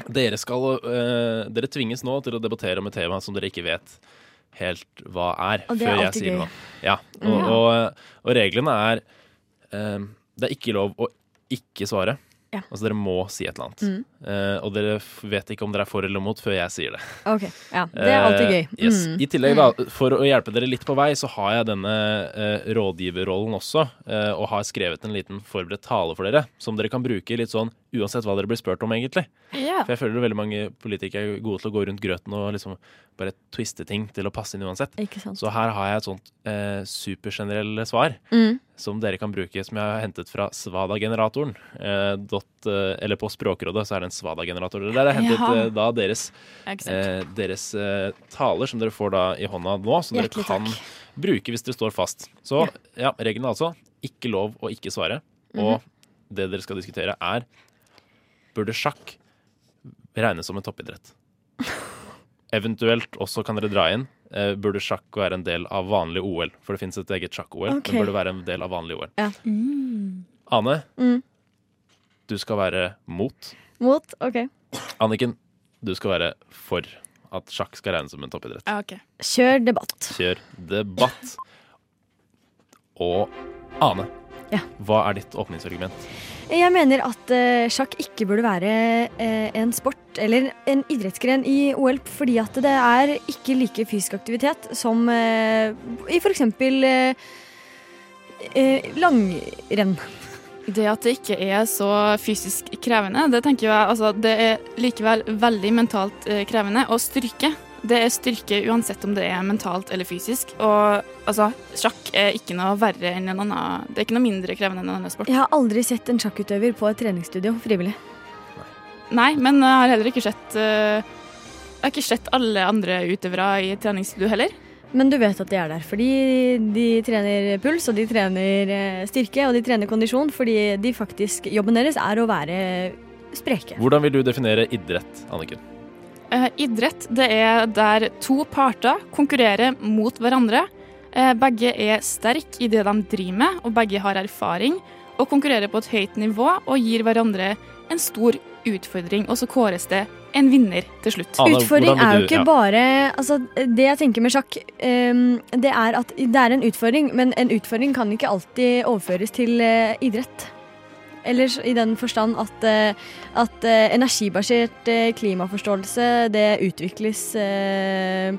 dere skal eh, Dere tvinges nå til å debattere om et tema som dere ikke vet helt hva er, Og det er før jeg alltid sier gøy. Mm. noe. Ja, og, Ja. og, og reglene er eh, Det er ikke lov å ikke svare. Ja. Altså dere må si et eller annet. Mm. Eh, og dere f- vet ikke om dere er for eller mot før jeg sier det. Ok, ja. Det er alltid gøy. Eh, yes. Mm. I tillegg, da, for å hjelpe dere litt på vei, så har jeg denne eh, rådgiverrollen også, eh, og har skrevet en liten forberedt tale for dere, som dere kan bruke litt sånn uansett hva dere blir spurt om, egentlig. Ja. For jeg føler veldig mange politikere er gode til å gå rundt grøten og liksom bare twiste ting til å passe inn uansett. Ikke sant. Så her har jeg et sånt eh, supergenerell svar Mm. som dere kan bruke, som jeg har hentet fra svadageneratoren. Eh, dot, eh, eller på Språkrådet så er det en svadagenerator. Det der er hentet Ja. eh, da deres, Ikke sant. eh, deres eh, taler, som dere får da i hånda nå, som Hjertelig dere kan takk. bruke hvis dere står fast. Så ja, reglene altså. Ikke lov å ikke svare. Og Mhm. det dere skal diskutere, er burde sjakk regnes som en (laughs) toppidrett? Eventuelt også kan dere dra inn. eh, burde sjakk være en del av vanlig OL? For det fins et eget sjakk-OL. Ok. Men burde være en del av vanlig OL. (laughs) Ja. Ane, Mm. du skal være mot. Mot? OK. Anniken, du skal være for at sjakk skal regnes som en toppidrett. Kjør debatt. Kjør debatt. Og Ane, Ja. hva er ditt åpningsargument? Jeg mener at eh, sjakk ikke burde være eh, en sport eller en idrettsgren i OL, fordi at det er ikke like fysisk aktivitet som eh, i eh, f.eks. Eh, langrenn. Det at det ikke er så fysisk krevende, det tenker jeg altså, Det er likevel veldig mentalt eh, krevende. Og styrke. Det er styrke uansett om det er mentalt eller fysisk. Og altså, sjakk er ikke noe verre enn en annen Det er ikke noe mindre krevende enn en annen sport. Jeg har aldri sett en sjakkutøver på et treningsstudio frivillig. Nei, men jeg har heller ikke sett eh, Jeg har ikke sett alle andre utøvere i treningsstudio heller. Men du vet at de er der, fordi de trener puls, og de trener eh, styrke, og de trener kondisjon, fordi de faktisk, jobben deres er å være eh, spreke. Hvordan vil du definere idrett, Anniken? Eh, idrett det er der to parter konkurrerer mot hverandre. Eh, begge er sterke i det de driver med, og begge har erfaring. Og konkurrerer på et høyt nivå og gir hverandre en stor utfordring. Og så kåres det en vinner til slutt. Anna, Utfordring hvordan vil er jo du- ikke ja. bare altså, Det jeg tenker med sjakk, ehm, det er at det er en utfordring, men en utfordring kan ikke alltid overføres til eh, idrett. Eller i den forstand at, eh, at eh, energibasert eh, klimaforståelse, det utvikles eh,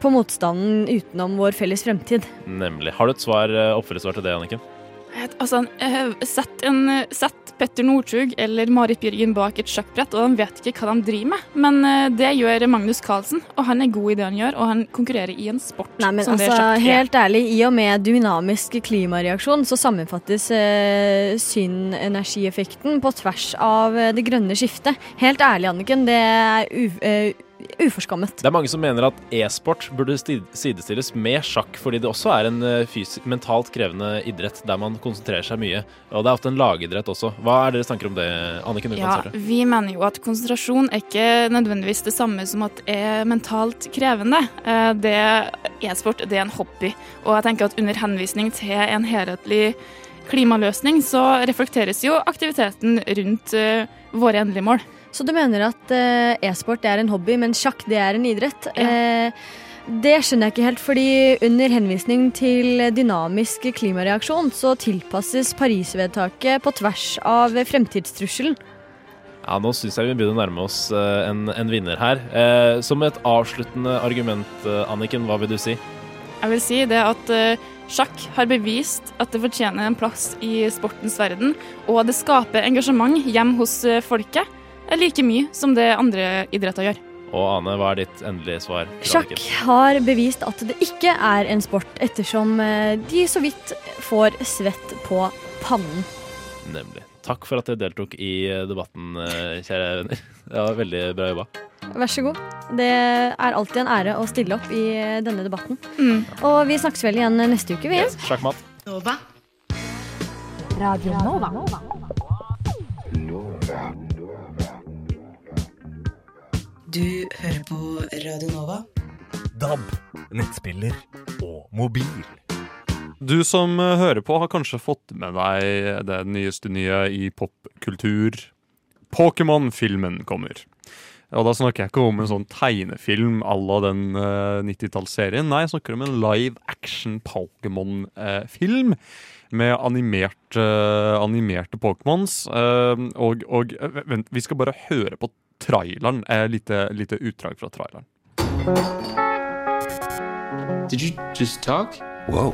på motstanden utenom vår felles fremtid. Nemlig. Har du et svar, eh, oppfølgesvar til det, Anniken? Et- Altså, eh, sett, en, eh, sett Petter Northug eller Marit Bjørgen bak et sjakkbrett, og de vet ikke hva de driver med. Men eh, det gjør Magnus Carlsen, og han er god i det han gjør, og han konkurrerer i en sport. Nei, men som det er altså, sjakk. helt ærlig, i og med dynamisk klimareaksjon så sammenfattes eh, synenergieffekten på tvers av eh, det grønne skiftet. Helt ærlig, Anniken, det er u eh, uforskammet. Det er mange som mener at e-sport burde sti- sidestilles med sjakk, fordi det også er en eh, fysi- mentalt krevende idrett der man konsentrerer seg mye. Og det er ofte en lagidrett også. Hva er deres tanker om det, Anniken? Du Ja, kan starte. vi mener jo at konsentrasjon er ikke nødvendigvis det samme som at det er mentalt krevende. Eh, Det E-sport det er en hobby, og jeg tenker at under henvisning til en helhetlig klimaløsning, så reflekteres jo aktiviteten rundt eh, våre endelige mål. Så du mener at eh, e-sport det er en hobby, men sjakk det er en idrett? Eh, det skjønner jeg ikke helt, fordi under henvisning til dynamisk klimareaksjon så tilpasses Parisvedtaket på tvers av fremtidstrusselen. Ja, nå syns jeg vi begynner å nærme oss eh, en, en vinner her. Eh, som et avsluttende argument, eh, Anniken, hva vil du si? Jeg vil si det at eh, sjakk har bevist at det fortjener en plass i sportens verden, og det skaper engasjement hjem hos eh, folket, eh, like mye som det andre idretter gjør. Og Ane, hva er ditt endelige svar? til Sjakk Anniken? har bevist at det ikke er en sport, ettersom eh, de så vidt får svett på pannen. Nemlig. Takk for at dere deltok i eh, debatten, eh, kjære venner. (laughs) Ja, veldig bra jobba. Vær så god. Det er alltid en ære å stille opp i eh, denne debatten. Mm. Og vi snakkes vel igjen neste uke, vi. Sjakkmatt. Nova. Radio Nova. Du hører på Radio Nova. DAB, nettspiller og mobil. Du som eh, hører på, har kanskje fått med deg det nyeste nye i popkultur. Pokémon-filmen kommer. Og da snakker jeg ikke om en sånn tegnefilm à la den eh, 90-tallsserien. Nei, jeg snakker om en live action Pokémon-film. Med animert, eh, animerte Pokémons. Eh, og og eh, vent, vi skal bare høre på traileren. Et lite, lite utdrag fra traileren. Did you just talk? Whoa.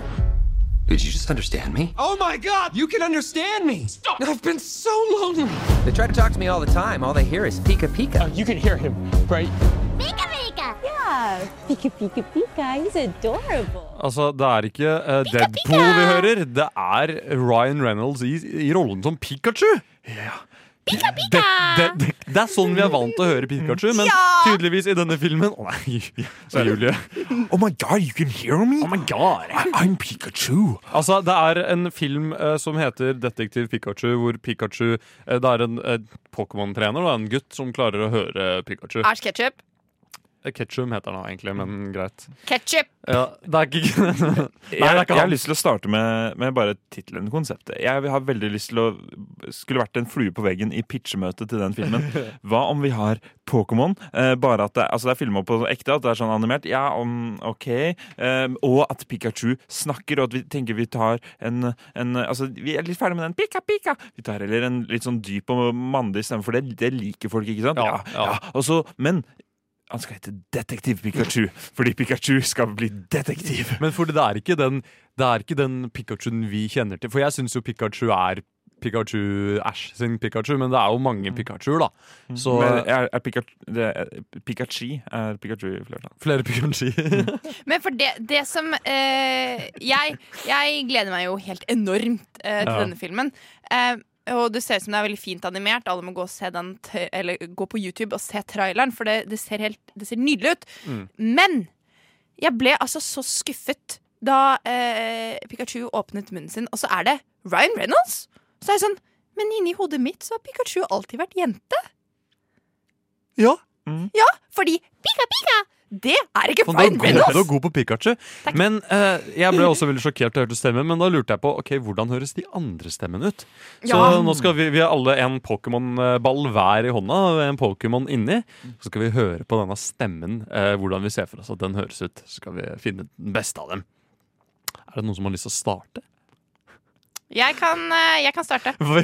Did you just understand me? Oh my god, you can understand me! Stop! I've been so lonely! They try to talk to me all the time. All they hear is Pika Pika. Oh, you can hear him, right? Pika Pika! Yeah! Pika Pika Pika, he's adorable. Altså, det er ikke eh, Deadpool vi hører, det er Ryan Reynolds i, i rollen som Pikachu. Pika, pika! Det, oh det, det, det er sånn vi er vant til å høre Pikachu, men Ja! tydeligvis i denne filmen Å (laughs) nei, sa Julie. Oh my god, you can hear me? Oh my god. I, I'm Pikachu. Altså, Det er en film eh, som heter Detektiv Pikachu, hvor Pikachu eh, Det er en eh, Pokémon-trener, da, en gutt, som klarer å høre Pikachu. (laughs) Æsj, ketchup. Eh, Ketchum heter han egentlig, men greit. Ketchup. Ja, det er ikke (laughs) Nei, det er Mm. jeg, ikke jeg har han. lyst til å starte med, med bare tittelen konseptet. Jeg har veldig lyst til å Skulle vært en flue på veggen i pitchemøtet til den (laughs) filmen. Hva om vi har Pokémon? Eh, bare at det, altså det er filma på ekte, at det er sånn animert. Ja, om, ok. Eh, og at Pikachu snakker, og at vi tenker vi tar en, en Altså, vi er litt ferdig med den pika, pika. Vi tar heller en litt sånn dyp og mandig stemme, for det, det liker folk, ikke sant? Ja, ja. Og så, men han skal hete Detektiv Pikachu, fordi Pikachu skal bli detektiv. (laughs) Men fordi det er ikke den, det er ikke den Pikachuen vi kjenner til. For jeg syns jo Pikachu er Pikachu Ash sin Pikachu, men det er jo mange Pikachuer, da. Så Mm. Men er, er Pikachu, det er, Pikachu er Pikachu i flertall. flere (laughs) Pikachuer. Men for det, det som eh, jeg, jeg gleder meg jo helt enormt eh, til Ja. denne filmen. Eh, og det ser ut som det er veldig fint animert. Alle må gå, og se den, t- eller, gå på YouTube og se traileren, for det, det, ser, helt, det ser nydelig ut. Men jeg ble altså så skuffet da eh, Pikachu åpnet munnen sin, og så er det Ryan Reynolds! Så er jeg sånn Men inni hodet mitt så har Pikachu alltid vært jente. ja. Ja, fordi Pika Pika, det er ikke Han Mm. er Ryan god, han er Reynolds! god på Pikachu. Men eh, jeg ble også veldig sjokkert da jeg hørte stemmen, men da lurte jeg på ok, hvordan høres de andre stemmene ut. Så Ja. nå skal vi, vi har alle en Pokémon-ball hver i hånda, og en Pokémon inni. Så skal vi høre på denne stemmen, eh, hvordan vi ser for oss at den høres ut. Så skal vi finne den beste av dem. Er det noen som har lyst til å (laughs) starte? Jeg kan, eh, jeg kan starte. For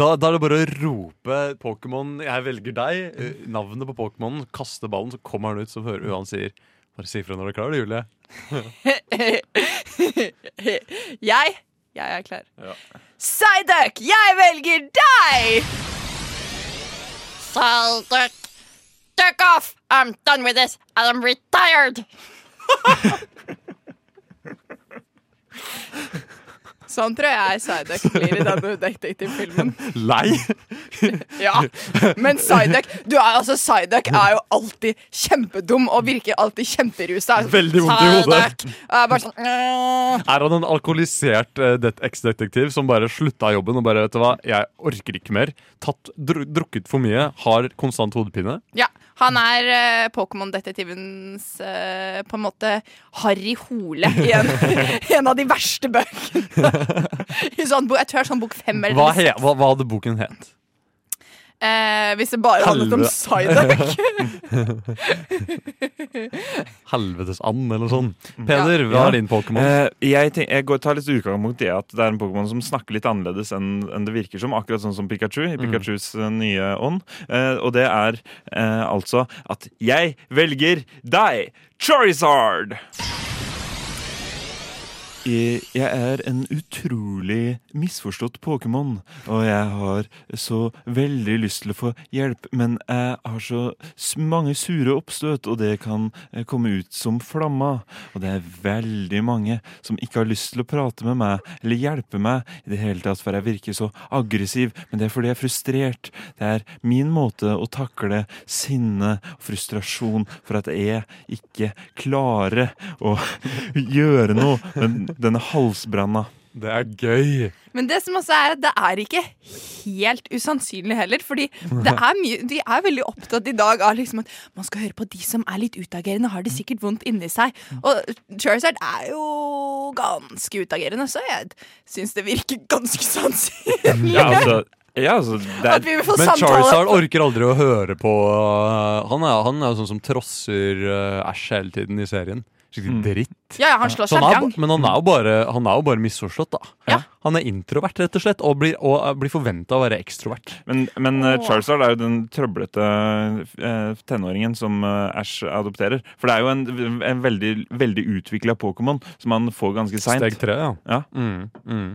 Da, da er det bare å rope Pokémon, jeg velger deg. eh, Navnet på Pokémonen, kaste ballen, så kommer han ut, så hører vi hva han sier. Bare si ifra når du er klar, du, Julie. (laughs) (laughs) jeg Jeg er klar. Psyduck, jeg velger (laughs) deg! Psyduck, duck off! I'm done with this, and I'm retired! sånn tror jeg Psyduck blir i denne detektivfilmen. Lei? (laughs) Ja, men Psyduck du er, altså, Psyduck er jo alltid kjempedum og virker alltid kjemperusa. Veldig vondt i hodet. Psyduck er bare sånn øh. Er han en alkoholisert eh, det- eks-detektiv som bare slutta i jobben og bare vet du hva, jeg orker ikke mer? Tatt, dru, drukket for mye, har konstant hodepine? Ja, han er eh, Pokémon-detektivens eh, på en måte Harry Hole i en, i en av de verste bøkene. (laughs) I sånn, bok- jeg tror det er sånn bok fem eller Hva, he, seks. hva, hva hadde boken het? Eh, hvis det bare handlet om Psyduck. (laughs) Helvetes and, eller sånn. Peder, hva er din Pokémon? Eh, jeg, tenk- jeg går- tar litt utgangspunkt i at det er en Pokémon som snakker litt annerledes enn enn det virker som, akkurat sånn som Pikachu i Mm. Pikachus eh, nye ånd. Eh, og det er eh, altså at jeg velger deg, Charizard! Jeg jeg er en utrolig misforstått Pokémon, og jeg har så veldig lyst til å få hjelp, men jeg har så s- mange sure oppstøt, og det kan eh, komme ut som flamma. Og det er veldig mange som ikke har lyst til å prate med meg eller hjelpe meg i det hele tatt, for jeg virker så aggressiv, men det er fordi jeg er frustrert. Det er min måte å takle sinne og frustrasjon for at jeg ikke klarer å (laughs) gjøre noe med denne halsbranna. Det er gøy. Men det som også er at det er ikke helt usannsynlig heller. Fordi det er mye, de er veldig opptatt i dag av liksom at man skal høre på de som er litt utagerende, har det sikkert vondt inni seg. Og Charizard er jo ganske utagerende, så jeg syns det virker ganske sannsynlig. Ja, altså, ja, altså det At vi vil få Men samtale. Charizard orker aldri å høre på uh, Han er, han er jo sånn som trosser uh, Ash hele tiden i serien. Mm. Skikkelig dritt. Ja, ja, han slår Så seg er vrang. ba- Men han er jo bare, han er jo bare misforstått, da. Han er introvert, rett og slett, og blir, og uh, blir forventa å være ekstrovert. Men, men eh, Åh. Charizard er jo den trøblete eh, tenåringen som eh, Ash adopterer. For det er jo en, en veldig, veldig utvikla Pokémon som han får ganske seint. Steg tre, ja. Mm, mm.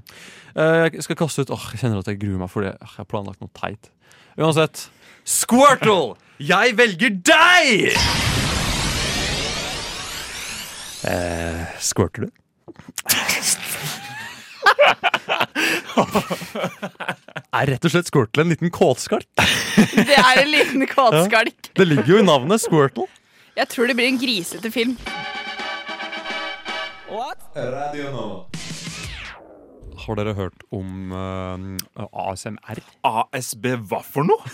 Eh, jeg skal kaste ut Åh, Jeg kjenner at jeg gruer meg, for det. Åh, jeg har planlagt noe teit. (laughs) (laughs) Uansett. Squirtle! Jeg velger deg! Eh, squirter du? er rett og slett Squirtle en liten kåtskalk. Det er en (laughs) liten kåtskalk. Ja. Det ligger jo i navnet Squirtle. Jeg tror det blir en grisete film. Har dere hørt om eh, ASMR? ASB, hva for noe?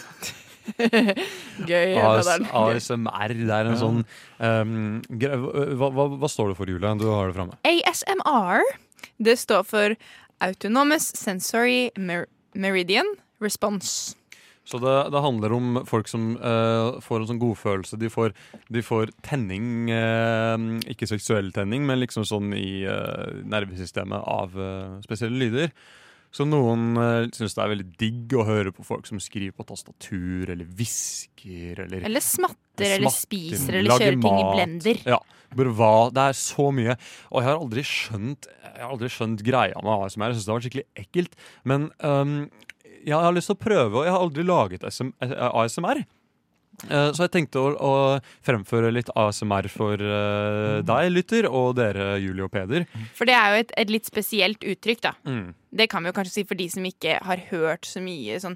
Gøy. AS, Peder'n. Gøy. ASMR, det er en sånn ehm, gre- hva, hva, hva står det for, Julie? Du har det framme. ASMR det står for Autonomous Sensory Mer Meridian Response. Så det, det handler om folk som eh, får en sånn godfølelse. De får, de får tenning, eh, ikke seksuell tenning, men liksom sånn i eh, nervesystemet av eh, spesielle lyder. Så noen uh, syns det er veldig digg å høre på folk som skriver på tastatur, eller hvisker, eller Eller smatter, eller spiser, eller lager kjører ting i mat. blender. Ja, Burva, det er så mye. Og jeg har aldri skjønt, jeg har aldri skjønt greia med ASMR. Jeg syns det har vært skikkelig ekkelt. Men øhm, jeg har lyst til å prøve, og jeg har aldri laget SM, eh, ASMR. Eh, Så jeg tenkte å, å fremføre litt ASMR for eh, deg, lytter, og dere, Julie og Peder. For det er jo et, et litt spesielt uttrykk, da. Mm. Det kan vi jo kanskje si for de som ikke har hørt så mye sånn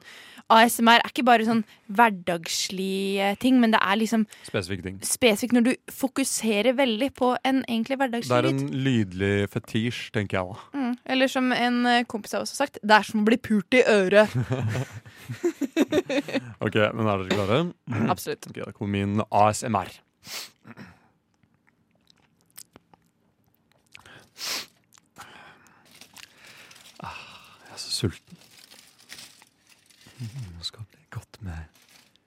ASMR er ikke bare sånn hverdagslige ting, men det er liksom Spesifikke ting. spesifikt når du fokuserer veldig på en Det egentlig er hverdagslig en lyd. lydlig fetisj, tenker jeg da. Mm. Eller som en eh, kompis har også sagt, det er som å bli pult i (laughs) øret. Ok, men er dere klare? Mm-hmm. Absolutt. Ok, da kommer min ASMR. Ah, Jeg er så sulten. Mm, det skal bli godt med,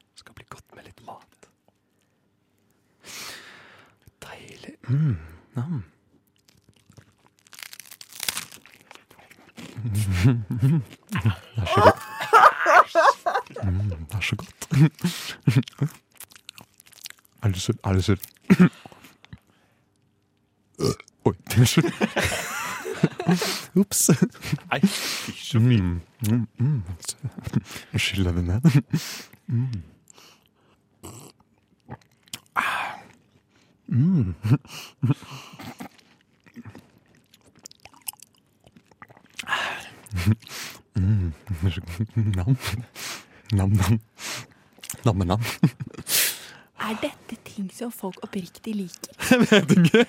det skal bli godt med litt mat. Deilig. Mm, nam. (laughs) Mm, Det er så godt. Mm, det er så godt. (laughs) Er du sulten? Er du sulten? Oi, unnskyld. Ops. Nei, fysj. Mm, mm, mm. Nå skyller jeg det ned. Mm. Ah. Mm. Mm, det er så- (laughs) Nam. Nam-nam. Nam-nam. Er dette ting som folk oppriktig liker? (laughs) Vet ikke.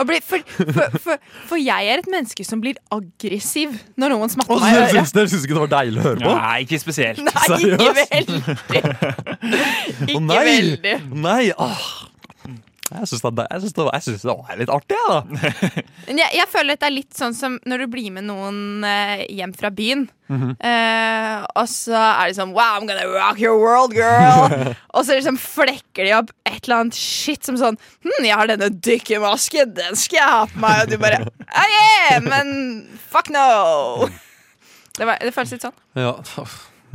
Og blir- for, for, for, for jeg er et menneske som blir aggressiv når noen Å, smatter så meg i Dere syns, øret. dere syns ikke det var deilig å høre på? Nei, ikke spesielt. Nei, ikke Å veldig. nei! Nei, åh. Jeg syns det, er deil- jeg syns det, var- jeg syns det var litt artig, jeg, da. Men jeg, jeg føler at det er litt sånn som når du blir med noen eh, hjem fra byen. Mhm. Eh, og så er det sånn Wow, I'm gonna rock your world, (laughs) girl! og så liksom flekker de opp et eller annet shit som sånn Hm, jeg har denne dykkermasken, den skal jeg ha på meg. Og du bare (laughs) «Ah, yeah, men fuck no! Det, var, det føles litt sånn. Ja,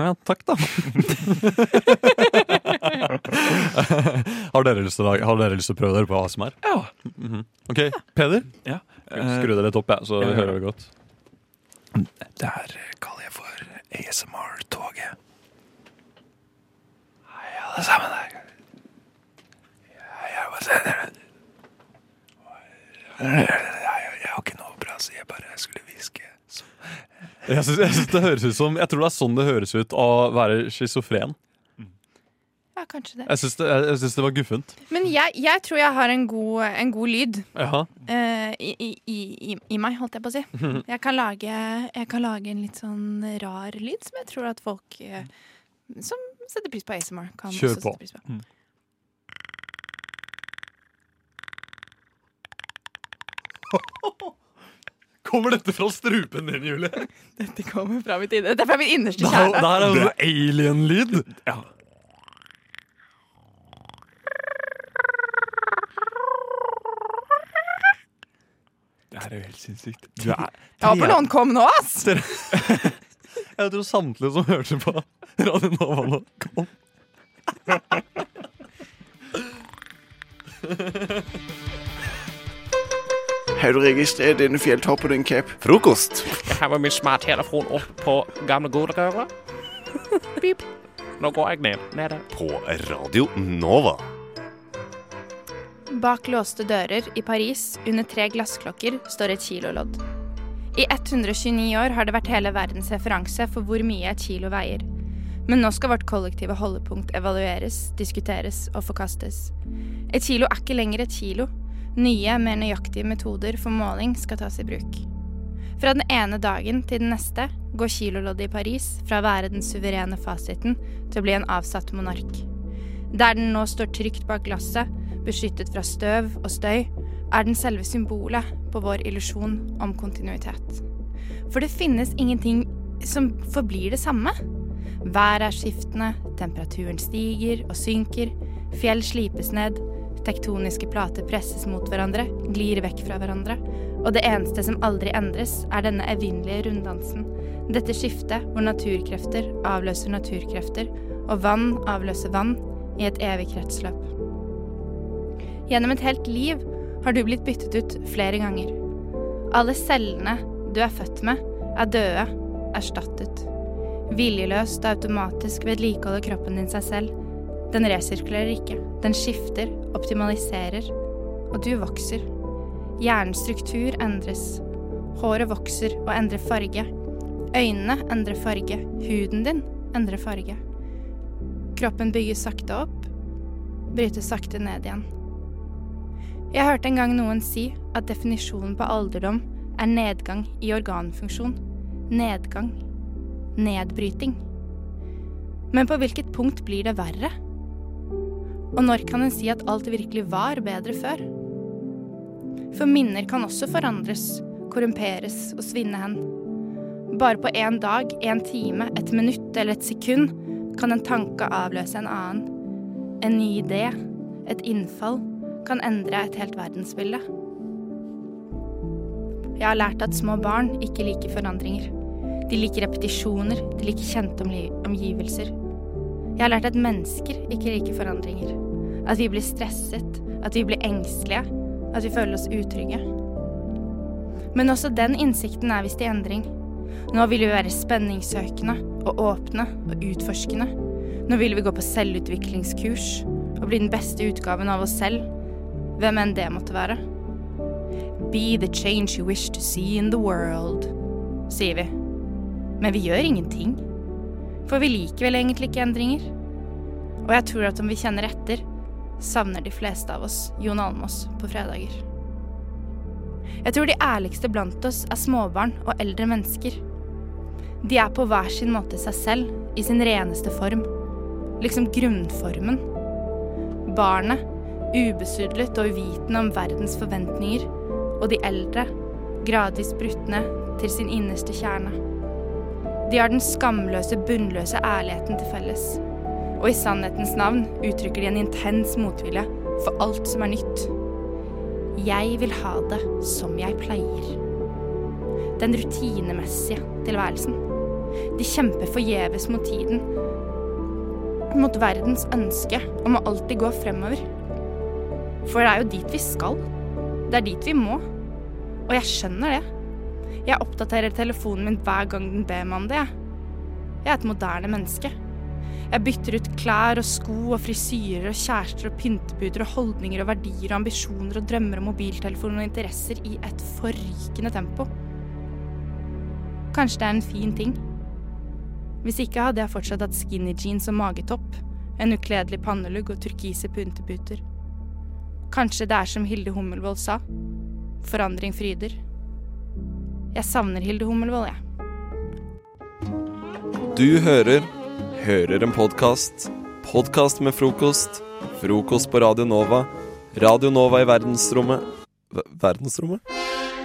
ja takk, da. (laughs) har, dere lyst til, å lage- har dere lyst til å prøve dere på ASMR? Ja. Mhm. OK, Peder. Ja. Skru dere litt opp, jeg, så Ja, ja, ja. hører dere godt. Det her kaller jeg for ASMR-toget. Hei, alle sammen. Hei, alle sammen. Jeg jeg har ikke noe bra, så jeg bare skulle hviske. Så- Jeg, synes, jeg, synes det høres ut som, jeg tror det er sånn det høres ut å være schizofren. Ja, kanskje det. Jeg syns det, jeg, jeg syns det var guffent. Men jeg, jeg tror jeg har en god, en god lyd. Jaha. eh, i, i, i, I meg, holdt jeg på (laughs) å si. Jeg kan, lage, jeg kan lage en litt sånn rar lyd som jeg tror at folk eh, som setter pris på ASMR, kan Kjør også på. sette pris på. Mm. (laughs) Kommer dette fra strupen din, Julie? Dette kommer fra mitt inne. Det er fra mitt innerste Det her, det her kjerne. er jo sånn alien-lyd. Ja. Det her er jo helt sinnssykt. Du er Jeg håper noen kom nå, ass! Dere- (laughs) Jeg tror samtlige som hørte på Radio Nova nå, kom. Har du registrert denne fjelltoppen din, Cap? Frokost. Jeg har min smarttelefon opp på gamle (laughs) godrøret. Pip. Nå går jeg ned. Nede. På Radio Nova. Bak låste dører i Paris, under tre glassklokker, står et kilolodd. I 129 år har det vært hele verdens referanse for hvor mye et kilo veier. Men nå skal vårt kollektive holdepunkt evalueres, diskuteres og forkastes. Et kilo er ikke lenger et kilo. Nye, mer nøyaktige metoder for måling skal tas i bruk. Fra den ene dagen til den neste går kiloloddet i Paris fra å være den suverene fasiten til å bli en avsatt monark. Der den nå står trygt bak glasset, beskyttet fra støv og støy, er den selve symbolet på vår illusjon om kontinuitet. For det finnes ingenting som forblir det samme. Været er skiftende, temperaturen stiger og synker, fjell slipes ned, tektoniske plater presses mot hverandre, glir vekk fra hverandre, og det eneste som aldri endres, er denne evinnelige runddansen. Dette skiftet hvor naturkrefter avløser naturkrefter, og vann avløser vann i et evig kretsløp. Gjennom et helt liv har du blitt byttet ut flere ganger. Alle cellene du er født med, er døde, erstattet. Viljeløst og automatisk vedlikeholder kroppen din seg selv. Den resirkulerer ikke. Den skifter, optimaliserer, og du vokser. Hjernens struktur endres. Håret vokser og endrer farge. Øynene endrer farge. Huden din endrer farge. Kroppen bygges sakte opp, brytes sakte ned igjen. Jeg hørte en gang noen si at definisjonen på alderdom er nedgang i organfunksjon. Nedgang. Nedbryting. Men på hvilket punkt blir det verre? Og når kan en si at alt virkelig var bedre før? For minner kan også forandres, korrumperes og svinne hen. Bare på én dag, én time, et minutt eller et sekund kan en tanke avløse en annen. En ny idé, et innfall, kan endre et helt verdensbilde. Jeg har lært at små barn ikke liker forandringer. De liker repetisjoner, de liker kjente omli- omgivelser. Jeg har lært at mennesker ikke liker forandringer. At vi blir stresset, at vi blir engstelige, at vi føler oss utrygge. Men også den innsikten er visst i endring. Nå vil vi være spenningssøkende og åpne og utforskende. Nå vil vi gå på selvutviklingskurs og bli den beste utgaven av oss selv, hvem enn det måtte være. Be the change you wish to see in the world, sier vi. Men vi gjør ingenting. For vi liker vel egentlig ikke endringer. Og jeg tror at om vi kjenner etter, savner de fleste av oss Jon Almås på fredager. Jeg tror de ærligste blant oss er småbarn og eldre mennesker. De er på hver sin måte seg selv, i sin reneste form. Liksom grunnformen. Barnet, ubesudlet og uvitende om verdens forventninger. Og de eldre, gradvis brutt ned til sin innerste kjerne. De har den skamløse, bunnløse ærligheten til felles. Og i sannhetens navn uttrykker de en intens motvilje for alt som er nytt. Jeg vil ha det som jeg pleier. Den rutinemessige tilværelsen. De kjemper forgjeves mot tiden. Mot verdens ønske om å alltid gå fremover. For det er jo dit vi skal. Det er dit vi må. Og jeg skjønner det. Jeg oppdaterer telefonen min hver gang den ber meg om det. jeg. Jeg er et moderne menneske. Jeg bytter ut klær og sko og frisyrer og kjærester og pyntebuder og holdninger og verdier og ambisjoner og drømmer og mobiltelefoner og interesser i et forrykende tempo. Kanskje det er en fin ting. Hvis ikke hadde jeg fortsatt hatt skinny jeans og magetopp, en ukledelig pannelugg og turkise pynteputer. Kanskje det er som Hilde Hummelvold sa, forandring fryder. Jeg savner Hilde Hummelvold, jeg. Du hører Hører en podkast. Podkast med frokost. Frokost på Radio Nova. Radio Nova i verdensrommet Ver- Verdensrommet?